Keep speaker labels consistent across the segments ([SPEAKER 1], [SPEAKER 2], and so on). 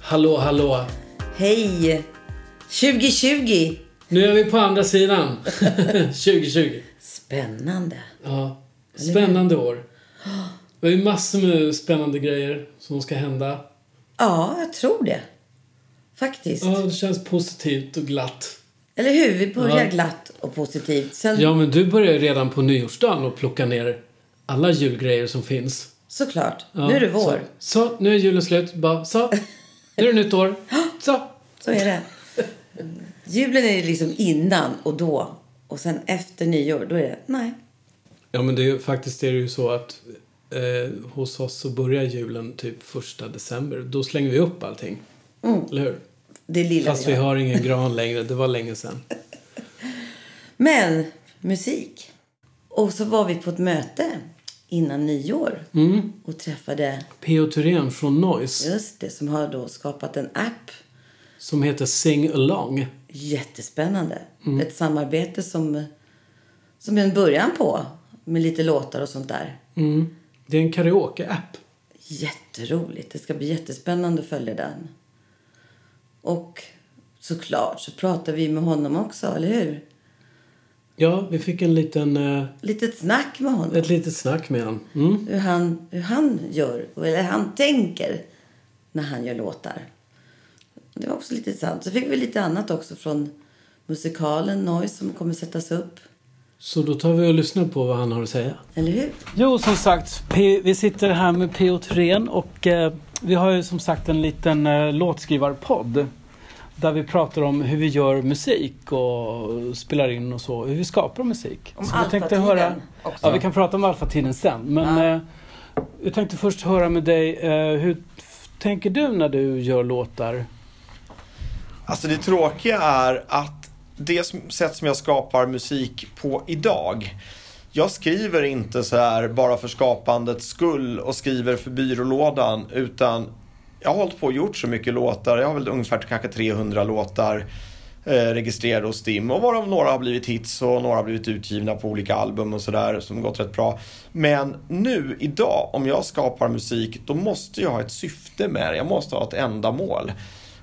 [SPEAKER 1] Hallå, hallå.
[SPEAKER 2] Hej! 2020!
[SPEAKER 1] Nu är vi på andra sidan. 2020.
[SPEAKER 2] Spännande.
[SPEAKER 1] Ja. Spännande år. Det är ju massor med spännande grejer som ska hända.
[SPEAKER 2] Ja, jag tror det. Faktiskt.
[SPEAKER 1] Ja, det känns positivt och glatt.
[SPEAKER 2] Eller hur? Vi börjar
[SPEAKER 1] Ja.
[SPEAKER 2] glatt och positivt. Sen,
[SPEAKER 1] Ja, men du börjar ju redan på nyårsdagen och plocka ner alla julgrejer som finns.
[SPEAKER 2] Såklart.
[SPEAKER 1] Ja,
[SPEAKER 2] nu är det vår.
[SPEAKER 1] Så, så, nu är julen slut. Bara så. Nu är det nytt år. Så.
[SPEAKER 2] Så, är det. Mm. Julen är ju liksom innan och då. Och sen efter nyår, då är det nej.
[SPEAKER 1] Ja, men det är ju, faktiskt är det ju så att eh, hos oss så börjar julen typ första december. Då slänger vi upp allting.
[SPEAKER 2] Mm.
[SPEAKER 1] Eller hur?
[SPEAKER 2] Det lilla
[SPEAKER 1] Fast
[SPEAKER 2] vi
[SPEAKER 1] vi
[SPEAKER 2] har.
[SPEAKER 1] har ingen gran längre. Det var länge sedan.
[SPEAKER 2] Men musik. Och så var vi på ett möte innan nyår
[SPEAKER 1] Mm.
[SPEAKER 2] och träffade
[SPEAKER 1] P.O. Thyrén från Noise
[SPEAKER 2] just det som har då skapat en app
[SPEAKER 1] som heter Sing Along.
[SPEAKER 2] Jättespännande. Ett samarbete som, som är en början på med lite låtar och sånt där.
[SPEAKER 1] Mm. Det är en karaoke-app.
[SPEAKER 2] Jätteroligt. Det ska bli jättespännande att följa den. Och såklart så pratar vi med honom också, eller hur?
[SPEAKER 1] Ja, vi fick en liten, eh,
[SPEAKER 2] Litet snack med honom.
[SPEAKER 1] ett litet snack med honom. Mm.
[SPEAKER 2] Hur han, hur han gör, eller han tänker när han gör låtar. Det var också lite sant. Så fick vi lite annat också från musikalen Noise som kommer sättas upp.
[SPEAKER 1] Så då tar vi och lyssnar på vad han har att säga.
[SPEAKER 2] Eller hur?
[SPEAKER 3] Jo, som sagt, P- vi sitter här med P.O. Thyrén och eh, vi har ju som sagt en liten eh, låtskrivarpodd där vi pratar om hur vi gör musik och spelar in och så, hur vi skapar musik.
[SPEAKER 2] Om
[SPEAKER 3] så vi tänkte
[SPEAKER 2] alfatiden
[SPEAKER 3] höra,
[SPEAKER 2] också.
[SPEAKER 3] Ja, vi kan prata om alfatiden sen. Men eh, jag tänkte först höra med dig, eh, hur f- tänker du när du gör låtar?
[SPEAKER 4] Alltså det tråkiga är att det som, sätt som jag skapar musik på idag. Jag skriver inte så här bara för skapandets skull och skriver för byrålådan utan jag har hållit på och gjort så mycket låtar. Jag har väl ungefär kanske 300 låtar eh, registrerade hos STIM och varav några har blivit hits och några har blivit utgivna på olika album och sådär som gått rätt bra. Men nu idag om jag skapar musik då måste jag ha ett syfte med det. Jag måste ha ett ändamål.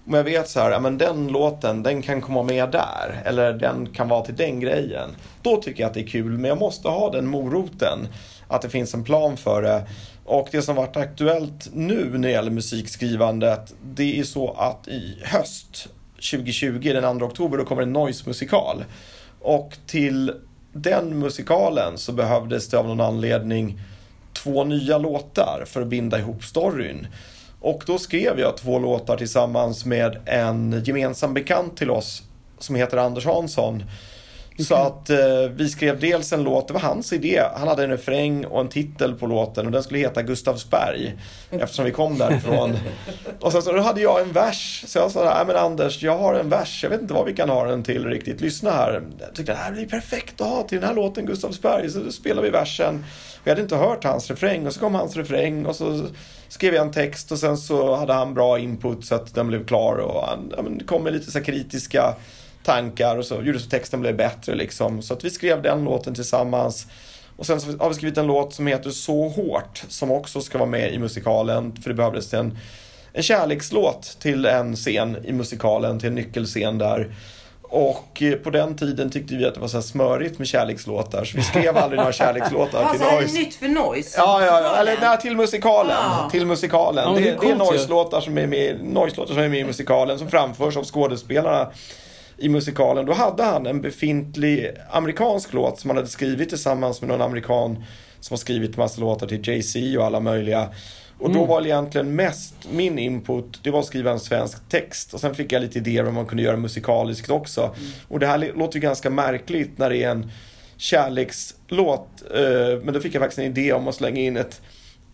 [SPEAKER 4] Om jag vet så här, ja, men den låten den kan komma med där eller den kan vara till den grejen. Då tycker jag att det är kul men jag måste ha den moroten. Att det finns en plan för det. Och det som varit aktuellt nu när det gäller musikskrivandet det är så att i höst 2020 den 2 oktober då kommer en noise-musikal. Och till den musikalen så behövdes det av någon anledning två nya låtar för att binda ihop storyn. Och då skrev jag två låtar tillsammans med en gemensam bekant till oss som heter Anders Hansson. Så att eh, vi skrev dels en låt, det var hans idé. Han hade en refräng och en titel på låten och den skulle heta Gustavsberg. Eftersom vi kom därifrån. och sen så då hade jag en vers. Så jag sa, nej men Anders, jag har en vers. Jag vet inte vad vi kan ha den till riktigt. Lyssna här. Jag tyckte det här blir perfekt att ha till den här låten Gustavsberg. Så då spelade vi versen. Jag hade inte hört hans refräng och så kom hans refräng och så skrev jag en text och sen så hade han bra input så att den blev klar och han ja, men, kom med lite så här kritiska tankar och så gjorde så texten blev bättre liksom. Så att vi skrev den låten tillsammans. Och sen så har vi skrivit en låt som heter Så hårt som också ska vara med i musikalen för det behövdes en, en kärlekslåt till en scen i musikalen, till en nyckelscen där. Och eh, på den tiden tyckte vi att det var så här smörigt med kärlekslåtar så vi skrev aldrig några kärlekslåtar till
[SPEAKER 5] Alltså, här är
[SPEAKER 4] Noise.
[SPEAKER 5] nytt för noise.
[SPEAKER 4] Ja, ja, ja. Eller, nej, till musikalen.
[SPEAKER 5] Ja.
[SPEAKER 4] Till musikalen.
[SPEAKER 3] Ja, men
[SPEAKER 4] det,
[SPEAKER 3] det
[SPEAKER 4] det
[SPEAKER 3] är
[SPEAKER 4] är,
[SPEAKER 3] coolt ju.
[SPEAKER 4] noise-låtar som är med, noise-låtar som är med i musikalen som framförs av skådespelarna i musikalen. Då hade han en befintlig amerikansk låt som han hade skrivit tillsammans med någon amerikan som har skrivit massa låtar till Jay-Z och alla möjliga. Och
[SPEAKER 3] Mm.
[SPEAKER 4] då var egentligen mest min input, det var att skriva en svensk text. Och sen fick jag lite idéer om man kunde göra musikaliskt också.
[SPEAKER 3] Mm.
[SPEAKER 4] Och det här li- låter ju ganska märkligt när det är en kärlekslåt. eh, Men då fick jag faktiskt en idé om att slänga in ett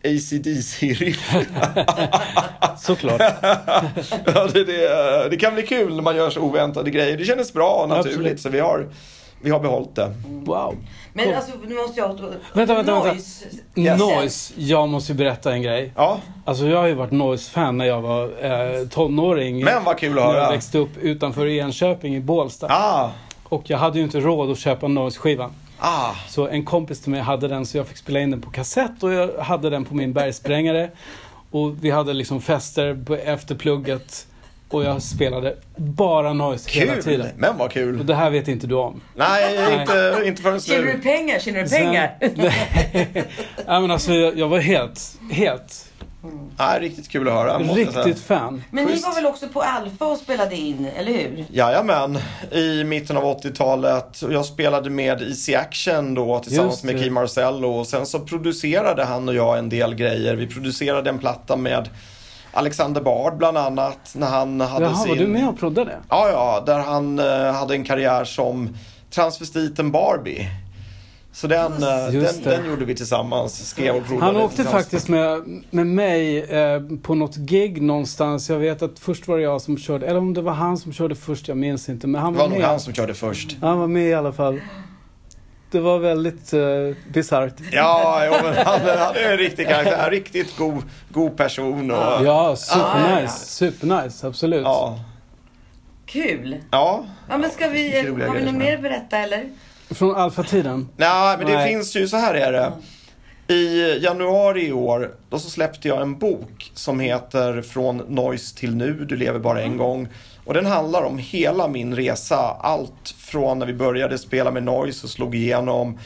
[SPEAKER 4] ACDC-riff.
[SPEAKER 3] Såklart.
[SPEAKER 4] Ja, det, det, det kan bli kul när man gör så oväntade grejer. Det kändes bra och naturligt
[SPEAKER 3] Absolut.
[SPEAKER 4] så vi har, vi har behållit det.
[SPEAKER 3] Wow.
[SPEAKER 5] Men alltså nu måste jag...
[SPEAKER 3] Vänta, vänta, vänta.
[SPEAKER 5] Noise.
[SPEAKER 3] Noise, jag måste ju berätta en grej.
[SPEAKER 4] Ja,
[SPEAKER 3] Alltså jag har ju varit Noise-fan när jag var eh, tonåring.
[SPEAKER 4] men vad kul att
[SPEAKER 3] När jag
[SPEAKER 4] höra.
[SPEAKER 3] växte upp utanför Enköping i Bålsta.
[SPEAKER 4] Ah,
[SPEAKER 3] Och jag hade ju inte råd att köpa Noise-skivan.
[SPEAKER 4] ah.
[SPEAKER 3] Så en kompis till mig hade den så jag fick spela in den på kassett och jag hade den på min bergsprängare. Och vi hade liksom fester på- efter plugget. Och jag spelade bara noise hela
[SPEAKER 4] Kul!
[SPEAKER 3] tiden.
[SPEAKER 4] Men vad
[SPEAKER 3] Och
[SPEAKER 4] kul!
[SPEAKER 3] det här vet inte du om.
[SPEAKER 4] Nej, inte, inte förrän
[SPEAKER 5] Tjänar du
[SPEAKER 4] nu.
[SPEAKER 5] pengar? Tjänar du pengar?
[SPEAKER 3] Ja, men alltså, jag, jag var helt, helt,
[SPEAKER 4] Nej, riktigt kul att höra. måste jag säga.
[SPEAKER 3] riktigt fan.
[SPEAKER 5] Men ni
[SPEAKER 4] schysst.
[SPEAKER 5] var väl också på Alfa och spelade in, eller hur?
[SPEAKER 4] Jajamän, i mitten av 80-talet. Jag spelade med Easy Action då tillsammans
[SPEAKER 3] Just
[SPEAKER 4] med
[SPEAKER 3] det.
[SPEAKER 4] Kim Marcello och sen så producerade han och jag en del grejer. Vi producerade en platta med Alexander Bard bland annat när han hade
[SPEAKER 3] Jaha,
[SPEAKER 4] sin...
[SPEAKER 3] var du med och proddade?
[SPEAKER 4] Ja, ja, där han eh, hade en karriär som transvestiten Barbie. Så den, eh, den,
[SPEAKER 3] Just det.
[SPEAKER 4] den gjorde vi tillsammans. Skrev och
[SPEAKER 3] Han
[SPEAKER 4] proddade
[SPEAKER 3] åkte
[SPEAKER 4] tillsammans.
[SPEAKER 3] faktiskt med, med mig eh, på något gig någonstans. Jag vet att först var det jag som körde, eller om det var han som körde först, jag minns inte. Men han
[SPEAKER 4] Det
[SPEAKER 3] var,
[SPEAKER 4] var nog
[SPEAKER 3] med.
[SPEAKER 4] han som körde först.
[SPEAKER 3] Han var med i alla fall. Det var väldigt eh, bisarrt.
[SPEAKER 4] Ja, jo, men han, han är en riktig karaktär. En riktigt god, god person. Och,
[SPEAKER 3] Ja, supernice.
[SPEAKER 5] ja.
[SPEAKER 3] Supernice, absolut.
[SPEAKER 4] Ah, ja.
[SPEAKER 5] Kul!
[SPEAKER 4] Ja.
[SPEAKER 5] Ja men ska vi,
[SPEAKER 4] Vilka roliga
[SPEAKER 5] har vi
[SPEAKER 4] grejer liksom.
[SPEAKER 5] något
[SPEAKER 4] som
[SPEAKER 5] mer att berätta eller?
[SPEAKER 3] Från alfatiden.
[SPEAKER 4] Nej, men det
[SPEAKER 3] Nej.
[SPEAKER 4] finns ju, så här är det. I januari i år, då så släppte jag en bok som heter Från noise till nu, du lever bara
[SPEAKER 3] Mm.
[SPEAKER 4] en gång. Och den handlar om hela min resa. Allt från när vi började spela med noise och slog igenom.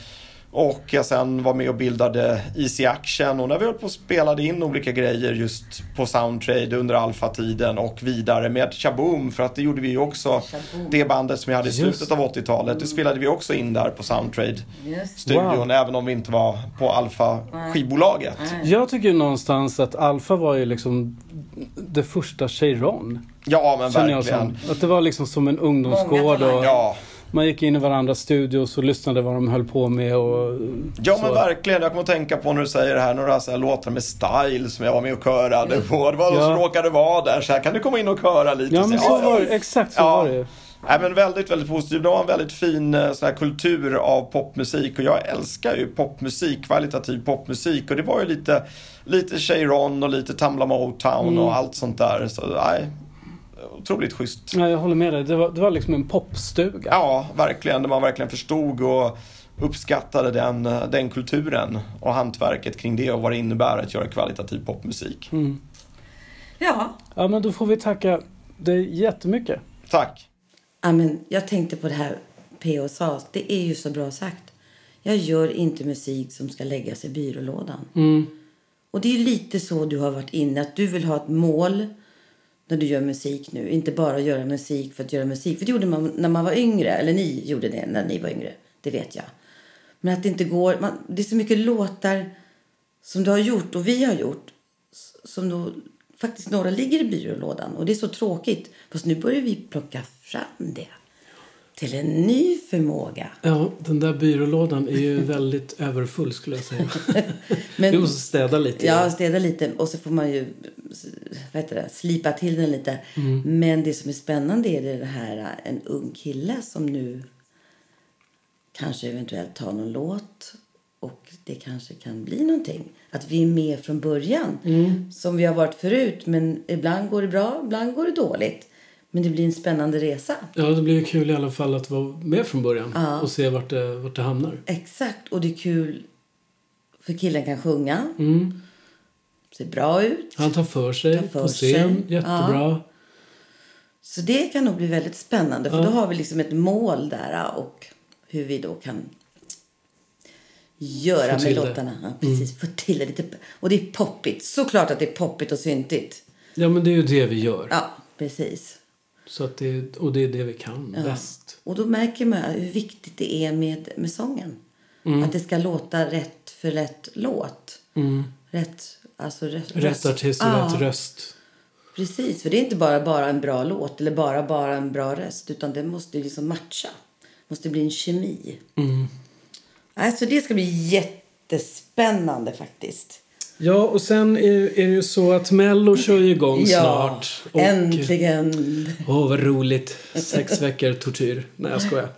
[SPEAKER 4] Och jag sen var med och bildade Easy Action och när vi höll på och spelade in olika grejer just på Soundtrade under alfatiden och vidare med Shaboom för att det gjorde vi ju också.
[SPEAKER 5] Shaboom.
[SPEAKER 4] Det bandet som jag hade i
[SPEAKER 3] Just
[SPEAKER 4] slutet av 80-talet, det spelade vi också in där på Soundtrade
[SPEAKER 5] Just
[SPEAKER 4] studion
[SPEAKER 3] Wow.
[SPEAKER 4] även om vi inte var på Alfa skivbolaget.
[SPEAKER 3] Jag tycker ju någonstans att Alfa var ju liksom det första Cheiron.
[SPEAKER 4] Ja men
[SPEAKER 3] Känner jag som.
[SPEAKER 4] verkligen.
[SPEAKER 3] Att det var liksom som en ungdomsgård
[SPEAKER 5] Många
[SPEAKER 3] och
[SPEAKER 5] talanger.
[SPEAKER 4] Ja.
[SPEAKER 3] man gick in i varandras studios och lyssnade vad de höll på med och
[SPEAKER 4] ja men
[SPEAKER 3] så.
[SPEAKER 4] verkligen, jag kommer att tänka på när du säger det här, några så här låtar med style som jag var med och körade på. Det var de
[SPEAKER 3] Ja.
[SPEAKER 4] som råkade vara där så här, kan du komma in och köra lite?
[SPEAKER 3] Ja men så
[SPEAKER 4] här,
[SPEAKER 3] var det, exakt så
[SPEAKER 4] Ja.
[SPEAKER 3] var det ju.
[SPEAKER 4] Nej, men väldigt, väldigt positiv. De har en väldigt fin eh, sån här kultur av popmusik och jag älskar ju popmusik, kvalitativ popmusik och det var ju lite, lite Cheiron och lite Tamla Motown Town och allt sånt där. Så nej, otroligt schysst.
[SPEAKER 3] Ja, jag håller med dig. Det var, det var liksom en popstuga.
[SPEAKER 4] Ja, verkligen. Där man verkligen förstod och uppskattade den, eh, den kulturen och hantverket kring det och vad det innebär att göra kvalitativ popmusik.
[SPEAKER 5] Ja,
[SPEAKER 3] Ja, men då får vi tacka dig jättemycket.
[SPEAKER 4] Tack!
[SPEAKER 2] Ja, men jag tänkte på det här PO sa. Det är ju så bra sagt. Jag gör inte musik som ska läggas i byrålådan.
[SPEAKER 3] Mm.
[SPEAKER 2] Och det är ju lite så du har varit inne. Att du vill ha ett mål när du gör musik nu. Inte bara göra musik för att göra musik. För det gjorde man när man var yngre. Eller ni gjorde det när ni var yngre. Det vet jag. Men att det inte går. Man, det är så mycket låtar som du har gjort och vi har gjort. s- Som då faktiskt några ligger i byrålådan. Och det är så tråkigt. Fast nu börjar vi plocka fram det. Till en ny förmåga.
[SPEAKER 1] Ja, den där byrålådan är ju väldigt överfull skulle jag säga.
[SPEAKER 2] Men-
[SPEAKER 1] Vi måste städa lite.
[SPEAKER 2] Ja, städa lite. Och så får man ju vad heter det, slipa till den lite. Men det som är spännande är det här eh, en ung kille som nu kanske eventuellt tar någon låt och det kanske kan bli någonting. Att vi är med från början, som vi har varit förut. Men ibland går det bra, ibland går det dåligt. Men det blir en spännande resa.
[SPEAKER 1] Ja, det blir ju kul i alla fall att vara med från början och se vart det, vart det hamnar.
[SPEAKER 2] Exakt, och det är kul för killen kan sjunga. Ser bra ut.
[SPEAKER 1] Han tar för sig
[SPEAKER 2] Tar för
[SPEAKER 1] på scen,
[SPEAKER 2] sig,
[SPEAKER 1] jättebra.
[SPEAKER 2] Så det kan nog bli väldigt spännande för då har vi liksom ett mål där och hur vi då kan göra
[SPEAKER 1] Få
[SPEAKER 2] med
[SPEAKER 1] till det. Mm.
[SPEAKER 2] låtarna. Ja, precis, få till det lite. Och det är poppigt. Såklart att det är poppigt och syntigt.
[SPEAKER 1] Ja, men det är ju det vi gör.
[SPEAKER 2] Ja, precis.
[SPEAKER 1] Så att det, och det är det vi kan bäst.
[SPEAKER 2] Och då märker man hur viktigt det är med, med sången.
[SPEAKER 1] Mm.
[SPEAKER 2] Att det ska låta rätt för rätt låt. Rätt, alltså rätt,
[SPEAKER 1] Rätt artist och
[SPEAKER 2] Ja,
[SPEAKER 1] rätt röst.
[SPEAKER 2] Precis, för det är inte bara, bara en bra låt eller bara, bara en bra röst utan det måste liksom matcha. måste bli en kemi.
[SPEAKER 1] Mm.
[SPEAKER 2] Alltså det ska bli jättespännande faktiskt.
[SPEAKER 1] Ja, och sen är, är det ju så att Mello kör ju igång snart. Och,
[SPEAKER 2] äntligen.
[SPEAKER 1] Åh, vad roligt. Sex veckor tortyr. Nej, jag skojar.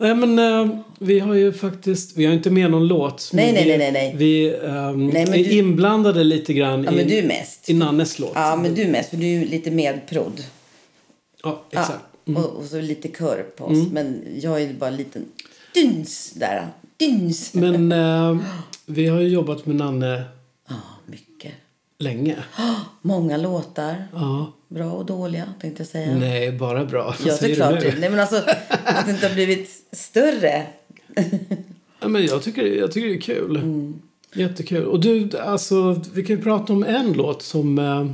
[SPEAKER 1] Nej, men eh, vi har ju faktiskt... Vi har inte med någon låt.
[SPEAKER 2] Nej,
[SPEAKER 1] men
[SPEAKER 2] nej,
[SPEAKER 1] vi,
[SPEAKER 2] nej, nej, nej.
[SPEAKER 1] Vi ehm,
[SPEAKER 2] Nej, men
[SPEAKER 1] är
[SPEAKER 2] du-
[SPEAKER 1] inblandade lite grann
[SPEAKER 2] Ja, men
[SPEAKER 1] i,
[SPEAKER 2] du mest.
[SPEAKER 1] i Nannes låt.
[SPEAKER 2] Ja, men du mest för du är ju lite medprodd.
[SPEAKER 1] Ja,
[SPEAKER 2] Ja,
[SPEAKER 1] exakt. Mm.
[SPEAKER 2] och, och så lite kör på oss. Men jag är ju bara en liten dyns där. Dyns.
[SPEAKER 1] Men eh, vi har ju jobbat med Nanne
[SPEAKER 2] Ja, mycket. Ah,
[SPEAKER 1] länge.
[SPEAKER 2] Många låtar.
[SPEAKER 1] Ja.
[SPEAKER 2] Bra och dåliga, tänkte jag säga.
[SPEAKER 1] Nej, bara bra. Vad
[SPEAKER 2] ja,
[SPEAKER 1] säger du
[SPEAKER 2] såklart.
[SPEAKER 1] nu?
[SPEAKER 2] Det. Nej, men alltså, att det inte har blivit större.
[SPEAKER 1] Ja, men jag, tycker, jag tycker det är kul.
[SPEAKER 2] Mm.
[SPEAKER 1] Jättekul. Och du, alltså, vi kan ju prata om en låt som, eh,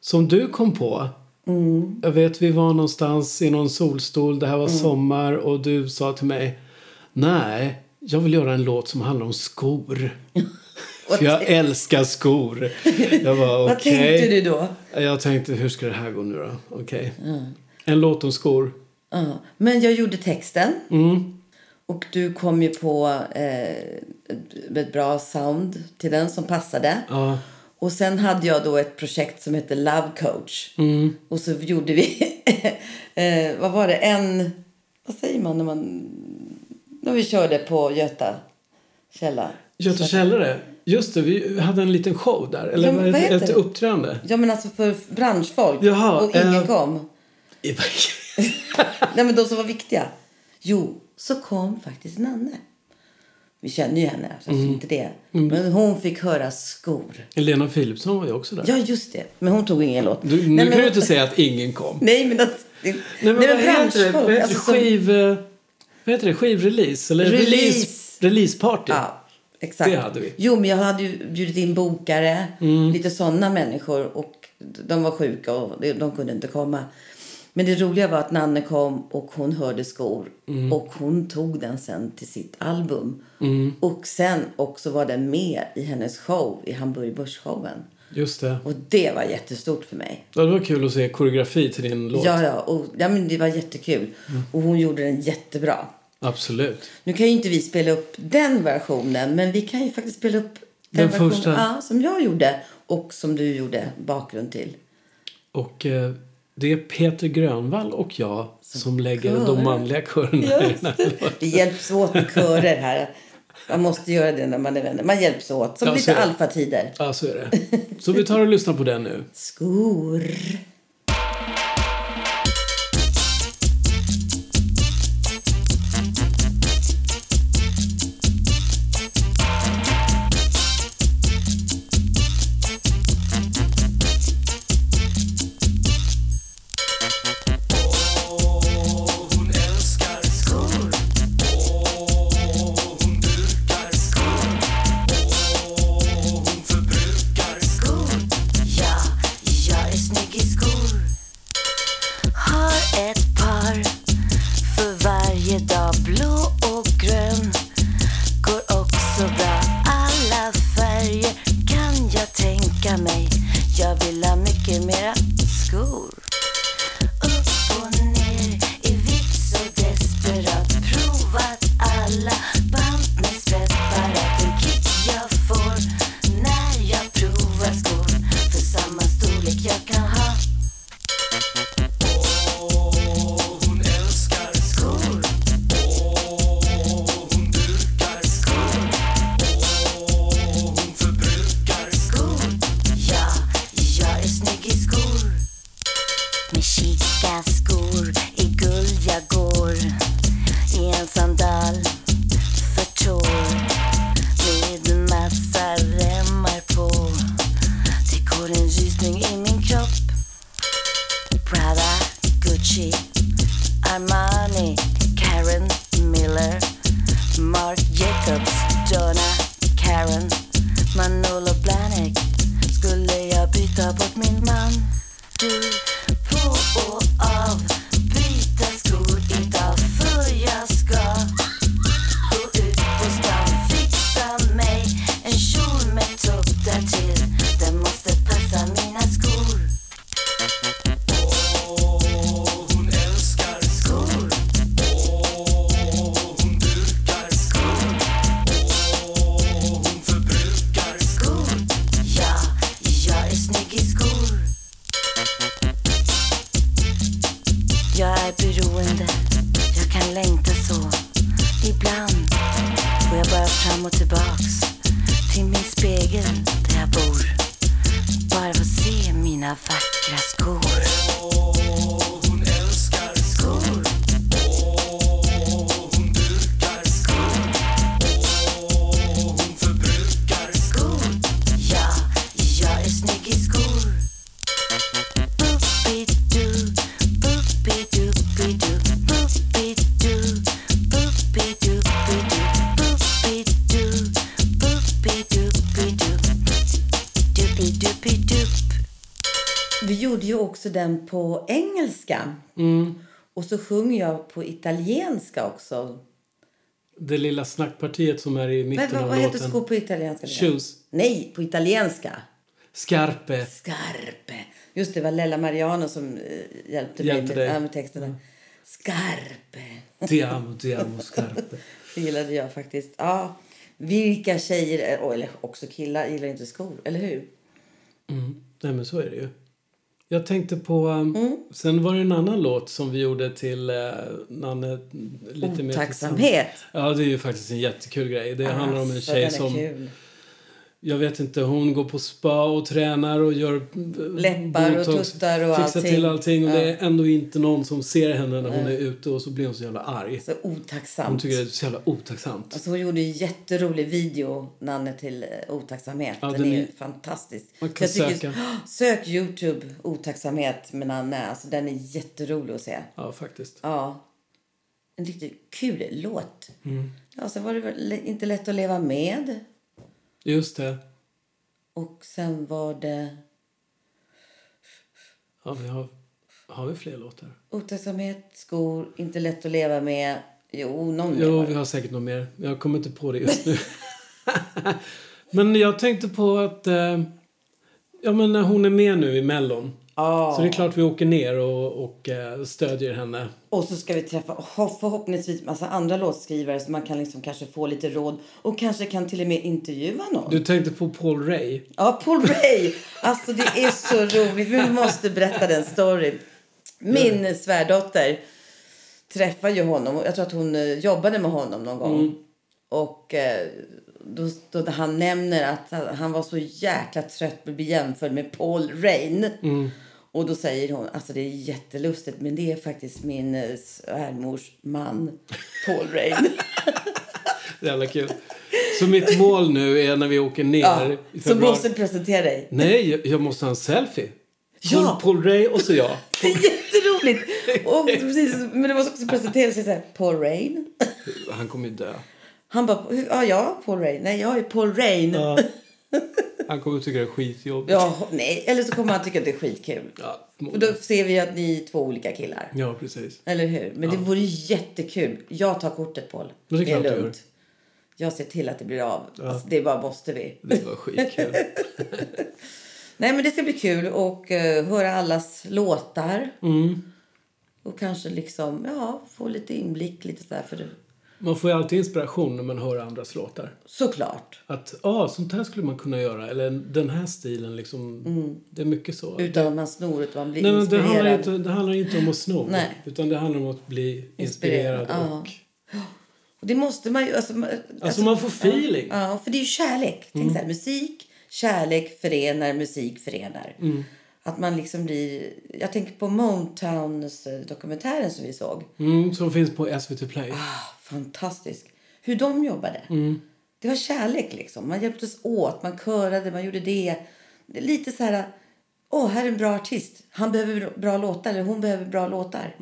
[SPEAKER 1] som du kom på.
[SPEAKER 2] Mm.
[SPEAKER 1] Jag vet, vi var någonstans i någon solstol, det här var sommar och du sa till mig Nej, jag vill göra en låt som handlar om skor. För jag älskar skor. Jag var okej.
[SPEAKER 2] Vad tänkte du då? Mm.
[SPEAKER 1] Jag tänkte, hur ska det här gå nu då? Okej. En låt om skor.
[SPEAKER 2] Ja, men jag gjorde texten.
[SPEAKER 1] Mm.
[SPEAKER 2] Och du kom ju på eh, ett- ett bra sound till den som passade.
[SPEAKER 1] Ja.
[SPEAKER 2] Och sen hade jag då ett projekt som hette Love Coach.
[SPEAKER 1] Mm.
[SPEAKER 2] Och så gjorde vi, eh, vad var det, en, vad säger man när man, när vi körde på Göta källa.
[SPEAKER 1] Göta källare. Just det, vi hade en liten show där. Eller
[SPEAKER 2] Ja,
[SPEAKER 1] var
[SPEAKER 2] men vad
[SPEAKER 1] det
[SPEAKER 2] heter
[SPEAKER 1] ett
[SPEAKER 2] det?
[SPEAKER 1] uppträdande?
[SPEAKER 2] Ja men alltså för branschfolk.
[SPEAKER 1] Jaha,
[SPEAKER 2] och ingen
[SPEAKER 1] eh.
[SPEAKER 2] kom. Nej men de som var viktiga. Jo, så kom faktiskt Nanne. Vi känner ju henne, alltså
[SPEAKER 1] Mm.
[SPEAKER 2] inte det. Men hon fick höra skor.
[SPEAKER 1] Helena Philipsson var ju också där.
[SPEAKER 2] Ja just det, men hon tog ingen låt.
[SPEAKER 1] Du, nu
[SPEAKER 2] Nej, men,
[SPEAKER 1] kan du inte säga att ingen kom.
[SPEAKER 2] Nej men alltså. det-
[SPEAKER 1] Nej, men vad heter det? Vad heter det?
[SPEAKER 2] alltså, som-
[SPEAKER 1] Skiv... eh, Vad heter det? Skivrelease? Eller
[SPEAKER 2] Release.
[SPEAKER 1] release, releaseparty?
[SPEAKER 2] Ja, exakt.
[SPEAKER 1] Det hade vi. Mm.
[SPEAKER 2] Jo, men jag hade ju bjudit in bokare, lite sådana människor. Och de var sjuka och de- de kunde inte komma. Men det roliga var att Nanne kom och hon hörde skor.
[SPEAKER 1] Mm.
[SPEAKER 2] Och hon tog den sen till sitt album. Och sen också var den med i hennes show, i Hamburg Börs-showen.
[SPEAKER 1] Just det.
[SPEAKER 2] Och det var jättestort för mig.
[SPEAKER 1] Ja, Det var kul att se koreografi till din låt. Mm.
[SPEAKER 2] Ja, ja, och, ja men det var jättekul. Och hon gjorde den jättebra.
[SPEAKER 1] Absolut.
[SPEAKER 2] Nu kan ju inte vi spela upp den versionen, men vi kan ju faktiskt spela upp
[SPEAKER 1] Den
[SPEAKER 2] versionen,
[SPEAKER 1] första.
[SPEAKER 2] Ja, som jag gjorde och som du gjorde bakgrund till.
[SPEAKER 1] Och eh, det är Peter Grönvall och jag som lägger
[SPEAKER 2] kör.
[SPEAKER 1] de manliga körerna i den här
[SPEAKER 2] Vi hjälps åt med körer här. Man måste göra det när man är vänner. Man hjälps åt, som
[SPEAKER 1] Ja, så
[SPEAKER 2] lite
[SPEAKER 1] är det.
[SPEAKER 2] alfatider.
[SPEAKER 1] Ja, så är det. Så vi tar och lyssnar på den nu.
[SPEAKER 2] Skor.
[SPEAKER 6] Ja, jag är snygg i skor. Har ett par för varje dag. Blå och grön går också bra. Alla färger kan jag tänka mig. Jag vill ha mycket mera skor. Upp och ner i vikt så desperat. Provat alla band med spetsparat. En kick jag får när jag provar skor. För samma storlek jag kan ha. Ja, jag är snygg i skor. Med chica skor i guld jag går I en sandal för tår Med massa remmar på Det går en rysning i min kropp Prada, Gucci, Armani, Karen Miller Mark Jacobs, Donna, Karen Manolo Blahnik Skulle jag byta bort min man? Du, på och av Byta skor idag för jag ska Gå ut på stan, fixa mig En kjol med tupp därtill Den måste passa mina skor skor. Ja, jag är snygg i skor. Jag är beroende, jag kan längta så. Ibland går jag bara fram och tillbaks till min spegel där jag bor. Bara för att se mina vackra skor. skor. skor. Ja, jag är
[SPEAKER 2] också den på engelska.
[SPEAKER 1] Mm.
[SPEAKER 2] Och så sjunger jag på italienska också.
[SPEAKER 1] Det lilla snackpartiet som är i
[SPEAKER 2] Men,
[SPEAKER 1] mitten
[SPEAKER 2] vad,
[SPEAKER 1] av
[SPEAKER 2] vad heter
[SPEAKER 1] låten.
[SPEAKER 2] skor på italienska?
[SPEAKER 1] Shoes.
[SPEAKER 2] Nej, på italienska.
[SPEAKER 1] Scarpe.
[SPEAKER 2] Scarpe. Just det, det var Lella Mariano som eh,
[SPEAKER 1] Hjälpte
[SPEAKER 2] hjälpte, mig med,
[SPEAKER 1] dig.
[SPEAKER 2] ja, med texterna. Scarpe.
[SPEAKER 1] Ti amo, ti amo, scarpe.
[SPEAKER 2] Det gillade jag faktiskt. Ja, vilka tjejer, eh, eller också killar, gillar inte skor, eller hur?
[SPEAKER 1] Nej, men så är det ju. Jag tänkte på... um,
[SPEAKER 2] Mm.
[SPEAKER 1] Sen var det en annan låt som vi gjorde till eh, Nanne... mm, Lite mer tillsammans.
[SPEAKER 2] Otacksamhet.
[SPEAKER 1] Ja, det är ju faktiskt en jättekul grej. Det handlar om en
[SPEAKER 2] Alltså,
[SPEAKER 1] tjej
[SPEAKER 2] den är
[SPEAKER 1] som...
[SPEAKER 2] Kul.
[SPEAKER 1] Jag vet inte, hon går på spa och tränar och gör... eh,
[SPEAKER 2] Läppar och tuttar och
[SPEAKER 1] fixar
[SPEAKER 2] allting.
[SPEAKER 1] till allting. Och det är ändå inte någon som ser henne när hon är ute och så blir hon så jävla arg.
[SPEAKER 2] Så
[SPEAKER 1] Hon
[SPEAKER 2] otacksamt.
[SPEAKER 1] tycker det är så jävla otacksamt.
[SPEAKER 2] Alltså hon gjorde en jätterolig video, Nanne, till eh, otacksamhet.
[SPEAKER 1] Ja,
[SPEAKER 2] den,
[SPEAKER 1] den
[SPEAKER 2] är,
[SPEAKER 1] är-
[SPEAKER 2] fantastisk.
[SPEAKER 1] Man
[SPEAKER 2] Så
[SPEAKER 1] kan
[SPEAKER 2] jag
[SPEAKER 1] söka.
[SPEAKER 2] "Åh, Sök Youtube, otacksamhet med Nanne. Alltså den är jätterolig att se.
[SPEAKER 1] Ja, faktiskt.
[SPEAKER 2] Ja. En riktigt kul låt. Ja, sen var det väl inte lätt att leva med.
[SPEAKER 1] Just det.
[SPEAKER 2] Och sen var det
[SPEAKER 1] Ja, vi har, har vi fler låtar?
[SPEAKER 2] otacksamhet, skor, inte lätt att leva med. Jo, någon mer
[SPEAKER 1] Jo,
[SPEAKER 2] var
[SPEAKER 1] vi
[SPEAKER 2] det.
[SPEAKER 1] har säkert något mer. Jag kommer inte på det just nu. men jag tänkte på att... Eh, ja, men när hon är med nu i Mellon.
[SPEAKER 2] Ja.
[SPEAKER 1] Så det är klart vi åker ner och, och eh, stödjer henne.
[SPEAKER 2] Och så ska vi träffa ho- förhoppningsvis massa andra låtskrivare så man kan liksom kanske få lite råd och kanske kan till och med intervjua någon.
[SPEAKER 1] Du tänkte på Paul Ray.
[SPEAKER 2] Ja, Paul Ray! Alltså det är så roligt. Vi måste berätta den storyn. Min svärdotter träffade ju honom och jag tror att hon eh, jobbade med honom någon gång.
[SPEAKER 1] Mm.
[SPEAKER 2] Och eh, då, då han nämner att han- han var så jäkla trött på att bli jämförd med Paul Rain.
[SPEAKER 1] Mm.
[SPEAKER 2] Och då säger hon, alltså det är jättelustigt men det är faktiskt min eh, svärmors man Paul Rain.
[SPEAKER 1] Jävla kul. Så mitt mål nu är när vi åker ner
[SPEAKER 2] ja,
[SPEAKER 1] i
[SPEAKER 2] så
[SPEAKER 1] februari.
[SPEAKER 2] måste presentera dig.
[SPEAKER 1] Nej, jag- jag måste ha en selfie.
[SPEAKER 2] Ja.
[SPEAKER 1] Paul, Paul Ray och så jag.
[SPEAKER 2] Det är jätteroligt! Och precis, men det var också presenterat sig så här, Paul Rain.
[SPEAKER 1] Han kommer ju dö.
[SPEAKER 2] Han bara, "Hur- ja, ja, Paul Rain. Nej, jag är Paul Rain. Ja.
[SPEAKER 1] Han kommer tycka det är skitjobbigt.
[SPEAKER 2] nej. Eller så kommer han tycka att det är skitkul.
[SPEAKER 1] Ja,
[SPEAKER 2] Och då ser vi att ni är två olika killar.
[SPEAKER 1] ja precis.
[SPEAKER 2] Eller hur? Men det vore jättekul. Jag tar kortet, Paul.
[SPEAKER 1] det är klart du gör.
[SPEAKER 2] Jag ser till att det blir av. Alltså, det bara måste vi.
[SPEAKER 1] Det var skitkul.
[SPEAKER 2] Nej, men det ska bli kul och eh, höra allas låtar. Och kanske liksom, ja, få lite inblick lite sådär. För det.
[SPEAKER 1] Man får ju alltid inspiration när man hör andras låtar.
[SPEAKER 2] Såklart.
[SPEAKER 1] Att ja, ah, sånt här skulle man kunna göra. Eller den här stilen liksom. Det är mycket så.
[SPEAKER 2] Utan att man snor utan man blir
[SPEAKER 1] Nej, men det,
[SPEAKER 2] Mm. inspirerad.
[SPEAKER 1] handlar inte, det handlar inte om att sno.
[SPEAKER 2] Nej.
[SPEAKER 1] Utan det handlar om att bli inspirerad.
[SPEAKER 2] Inspirerad, ja.
[SPEAKER 1] och,
[SPEAKER 2] Och det måste man ju... Alltså, man-
[SPEAKER 1] Alltså, man Mm. får feeling.
[SPEAKER 2] Ja, ja, för det är ju kärlek. Tänk så här, musik, kärlek förenar, musik förenar.
[SPEAKER 1] Mm.
[SPEAKER 2] Att man liksom blir... Jag tänker på Mowntowns eh, dokumentären som vi såg.
[SPEAKER 1] mm, som finns på SVT Play.
[SPEAKER 2] Ah, fantastisk. Hur de jobbade.
[SPEAKER 1] Mm.
[SPEAKER 2] Det var kärlek liksom. Man hjälptes åt, man körade, man gjorde det. det är lite så här, åh här är en bra artist. Han behöver bra låtar eller hon behöver bra låtar.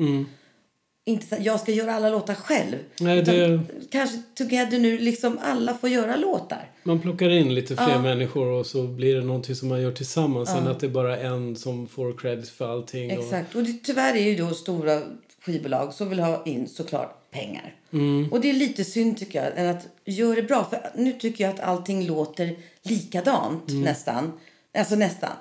[SPEAKER 2] Inte så här, jag ska göra alla låtar själv.
[SPEAKER 1] Mm. Nej,
[SPEAKER 2] Utan
[SPEAKER 1] det-
[SPEAKER 2] Kanske together nu, liksom alla får göra låtar.
[SPEAKER 1] Man plockar in lite fler människor och så blir det någonting som man gör tillsammans. Sen att det är bara en som får credit för allting.
[SPEAKER 2] Exakt. Och det, tyvärr är ju då stora skivbolag som vill ha in såklart pengar.
[SPEAKER 1] Mm.
[SPEAKER 2] Och det är lite synd tycker jag. Än att göra det bra. För nu tycker jag att allting låter likadant
[SPEAKER 1] Mm.
[SPEAKER 2] nästan. Alltså nästan.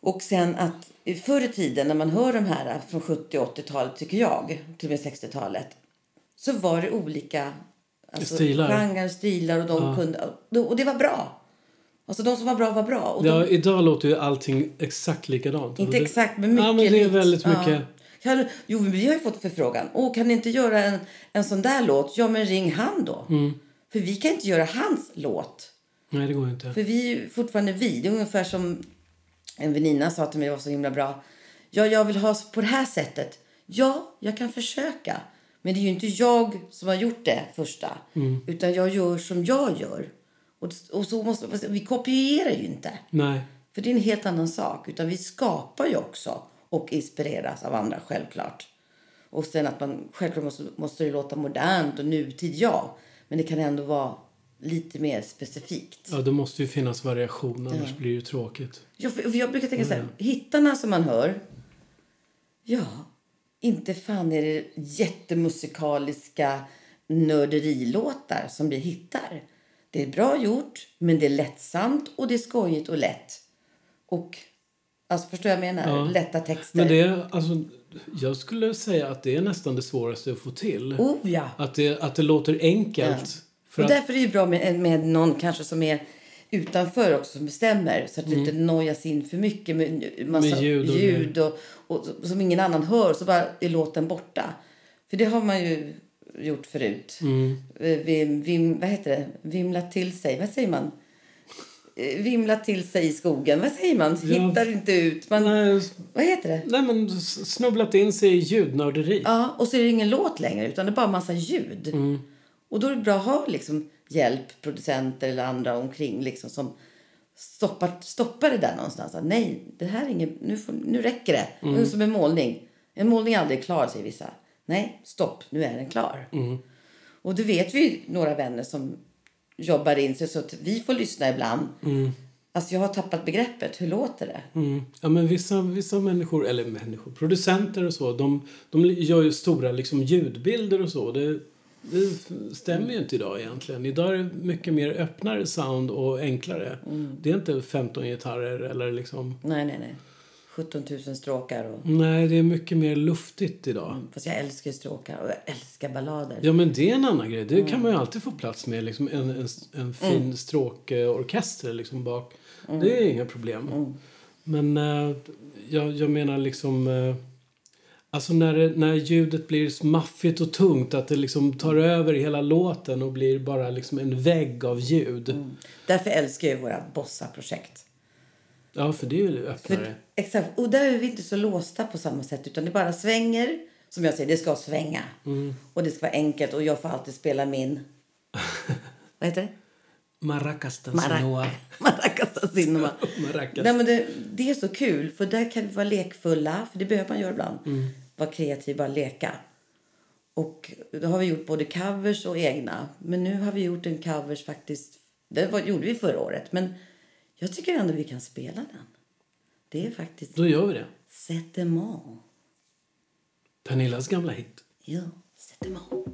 [SPEAKER 2] Och sen att i förr i tiden när man hör de här från 70 och 80-talet tycker jag. Till och med 60-talet. Så var det olika alltså,
[SPEAKER 1] Stilar.
[SPEAKER 2] genrer, stilar och de kunde. Och det var bra. Alltså de som var bra var bra. Och
[SPEAKER 1] Och,
[SPEAKER 2] de
[SPEAKER 1] ja, idag låter ju allting exakt likadant.
[SPEAKER 2] inte
[SPEAKER 1] Och det-
[SPEAKER 2] exakt, men mycket
[SPEAKER 1] Ja, men det är
[SPEAKER 2] likt.
[SPEAKER 1] väldigt
[SPEAKER 2] Ja.
[SPEAKER 1] mycket.
[SPEAKER 2] Kan, du- jo, men vi har ju fått förfrågan. Åh, kan ni inte göra en, en sån där låt? Ja, men ring han då.
[SPEAKER 1] Mm.
[SPEAKER 2] För vi kan inte göra hans låt.
[SPEAKER 1] Nej, det går ju inte.
[SPEAKER 2] För vi är ju fortfarande vi. Det är ungefär som en väninna sa till mig, det var så himla bra. Ja, jag vill ha s- på det här sättet. Ja, jag kan försöka. Men det är ju inte jag som har gjort det första.
[SPEAKER 1] Mm.
[SPEAKER 2] Utan jag gör som jag gör. Och, och så måste, vi kopierar ju inte.
[SPEAKER 1] Nej.
[SPEAKER 2] För det är en helt annan sak. Utan vi skapar ju också och inspireras av andra, självklart. Och sen att man självklart måste, måste det låta modernt och nutid, ja. Men det kan ändå vara lite mer specifikt.
[SPEAKER 1] Ja, det måste ju finnas variation, annars blir det ju tråkigt.
[SPEAKER 2] Jag, för jag brukar tänka så
[SPEAKER 1] Mm.
[SPEAKER 2] här, hittarna som man hör, ja, inte fan är det jättemusikaliska nörderilåtar som blir hittar. Det är bra gjort, men det är lättsamt och det är skojigt och lätt. Och, alltså förstår jag vad jag menar?
[SPEAKER 1] Ja.
[SPEAKER 2] Lätta texter.
[SPEAKER 1] Men det är, alltså, jag skulle säga att det är nästan det svåraste att få till.
[SPEAKER 2] Oh ja!
[SPEAKER 1] Att, det, att det låter enkelt. För
[SPEAKER 2] och
[SPEAKER 1] att,
[SPEAKER 2] därför är det ju bra med, med någon kanske som är utanför också som bestämmer så att du inte nojas in för mycket med n- massa
[SPEAKER 1] Mm. Med ljud
[SPEAKER 2] ljud,
[SPEAKER 1] och
[SPEAKER 2] och, och, som ingen annan hör så bara är låten borta. För det har man ju gjort förut.
[SPEAKER 1] Mm.
[SPEAKER 2] Eh, Vim, vim, vad heter det? Vimla till sig. Vad säger man? Eh, Vimla till sig i skogen. Vad säger man?
[SPEAKER 1] Ja.
[SPEAKER 2] Hittar inte ut. Man,
[SPEAKER 1] nej,
[SPEAKER 2] Vad heter det?
[SPEAKER 1] nej, men s- snubblat in sig i ljudnörderi.
[SPEAKER 2] Ja, och så är det ingen låt längre utan det är bara massa ljud. Och då är det bra att ha liksom, hjälp, producenter eller andra omkring liksom, som stoppar, stoppar det där någonstans. Att, Nej, det här är ingen, nu, får, nu räcker det. Nu är det som en målning. En målning är aldrig klar, säger vissa. Nej, stopp, nu är den klar. Och det vet vi ju några vänner som jobbar in sig så att vi får lyssna ibland. Alltså jag har tappat begreppet, hur låter det?
[SPEAKER 1] Mm. Ja, men vissa, vissa människor, eller människor, producenter och så, de, de gör ju stora liksom, ljudbilder och så. Det, det stämmer ju inte idag egentligen. Idag är det mycket mer öppnare sound och enklare. Det är inte 15 gitarrer eller liksom...
[SPEAKER 2] Nej, nej, nej. 17 000 stråkar och...
[SPEAKER 1] Nej, det är mycket mer luftigt idag.
[SPEAKER 2] Fast jag älskar ju stråkar och jag älskar ballader.
[SPEAKER 1] Ja, men det är en annan grej. Det kan man ju alltid få plats med. Liksom en, en, en fin stråkorkester liksom bak. Det är inga problem. Men eh, jag, jag menar liksom... eh, alltså när, det, när ljudet blir så maffigt och tungt att det liksom tar över hela låten och blir bara liksom en vägg av ljud.
[SPEAKER 2] Därför älskar jag ju våra bossa-projekt.
[SPEAKER 1] Ja, för det är ju öppnare.
[SPEAKER 2] För, exakt, och där är vi inte så låsta på samma sätt utan det bara svänger. Som jag säger, det ska svänga.
[SPEAKER 1] Mm.
[SPEAKER 2] Och det ska vara enkelt och jag får alltid spela min... Vad heter det?
[SPEAKER 1] Maracas
[SPEAKER 2] Marac- Maracas Sinoma.
[SPEAKER 1] Maracas.
[SPEAKER 2] Nej, men det, det är så kul, för där kan vi vara lekfulla, för det behöver man göra ibland.
[SPEAKER 1] Mm.
[SPEAKER 2] Vara kreativa och leka. Och då har vi gjort både covers och egna. Men nu har vi gjort en covers faktiskt, det var, gjorde vi förra året, men jag tycker ändå vi kan spela den. Det är faktiskt
[SPEAKER 1] Då gör vi det.
[SPEAKER 2] C'est aimant.
[SPEAKER 1] Pernillas gamla hit.
[SPEAKER 2] Ja, C'est aimant.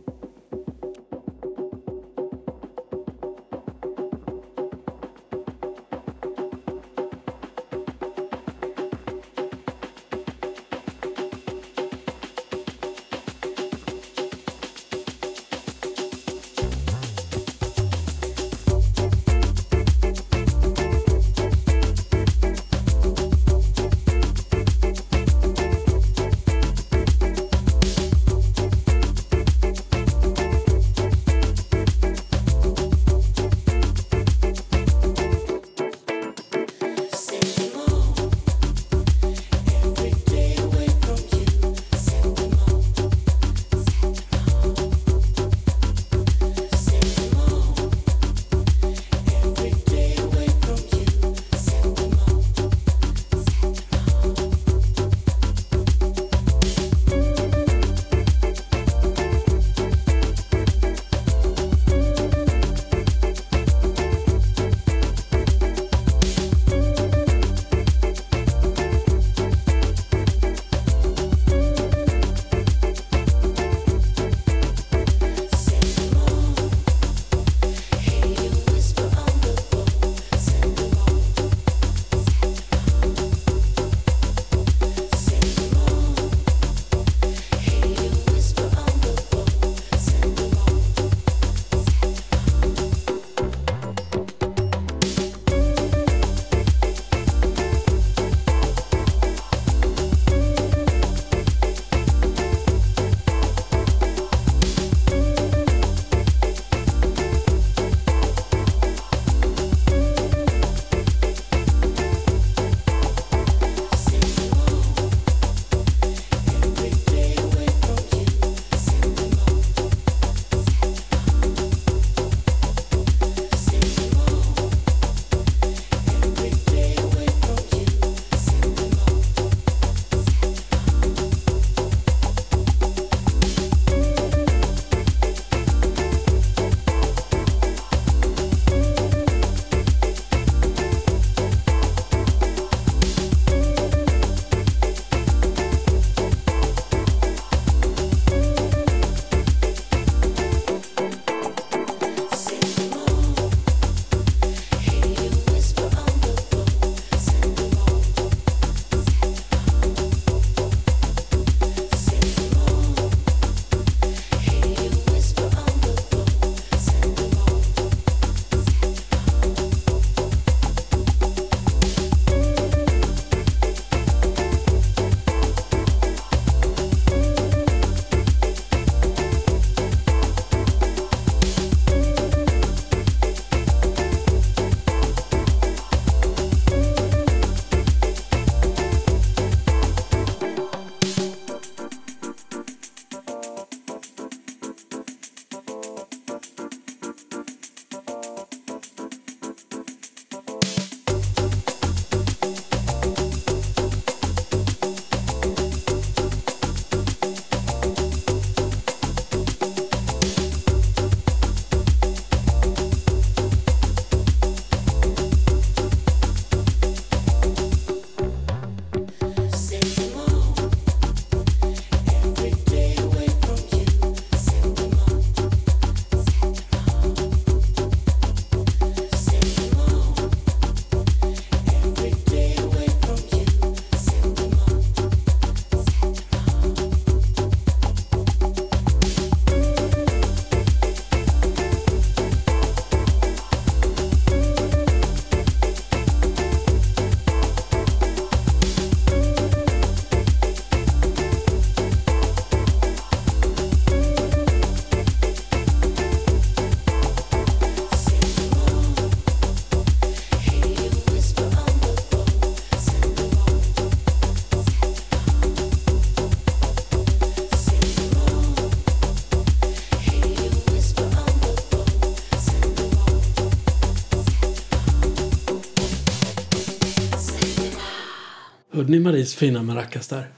[SPEAKER 1] Hörde ni Maries fina maracas där?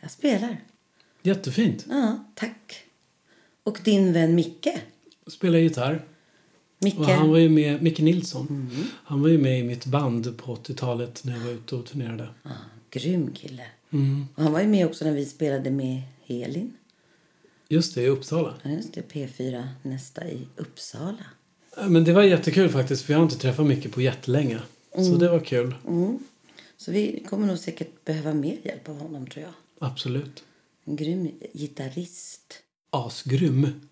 [SPEAKER 2] Jag spelar.
[SPEAKER 1] Jättefint.
[SPEAKER 2] Ja, tack. Och din vän Micke.
[SPEAKER 1] Spelar gitarr.
[SPEAKER 2] Micke.
[SPEAKER 1] Och han var ju med, Micke Nilsson. Han var ju med i mitt band på 80-talet när jag var ute och turnerade.
[SPEAKER 2] Ja, grym kille.
[SPEAKER 1] Mm.
[SPEAKER 2] Och han var ju med också när vi spelade med Helin.
[SPEAKER 1] Just det, i Uppsala.
[SPEAKER 2] Ja, just det, P4 nästa i Uppsala.
[SPEAKER 1] Äh, Men det var jättekul faktiskt för jag har inte träffat Micke på jättelänge. Så det var kul.
[SPEAKER 2] Mm. Så vi kommer nog säkert behöva mer hjälp av honom tror jag.
[SPEAKER 1] Absolut.
[SPEAKER 2] En grym gitarrist.
[SPEAKER 1] Asgrym.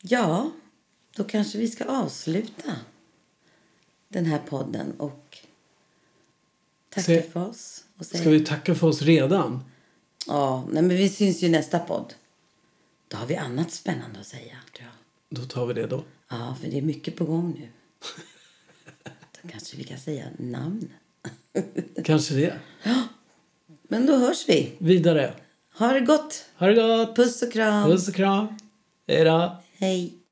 [SPEAKER 2] Ja, då kanske vi ska avsluta den här podden och tacka
[SPEAKER 1] Se-
[SPEAKER 2] för oss. Och säga...
[SPEAKER 1] Ska vi tacka för oss redan?
[SPEAKER 2] Ja, nej, men vi syns ju i nästa podd. Då har vi annat spännande att säga, tror jag.
[SPEAKER 1] Då tar vi det då.
[SPEAKER 2] Ja, för det är mycket på gång nu. Då kanske vi kan säga namn.
[SPEAKER 1] Kanske det.
[SPEAKER 2] Men då hörs vi.
[SPEAKER 1] Vidare.
[SPEAKER 2] Ha det gott!
[SPEAKER 1] Ha det gott!
[SPEAKER 2] Puss och kram!
[SPEAKER 1] Puss och kram. Hej då.
[SPEAKER 2] Hej!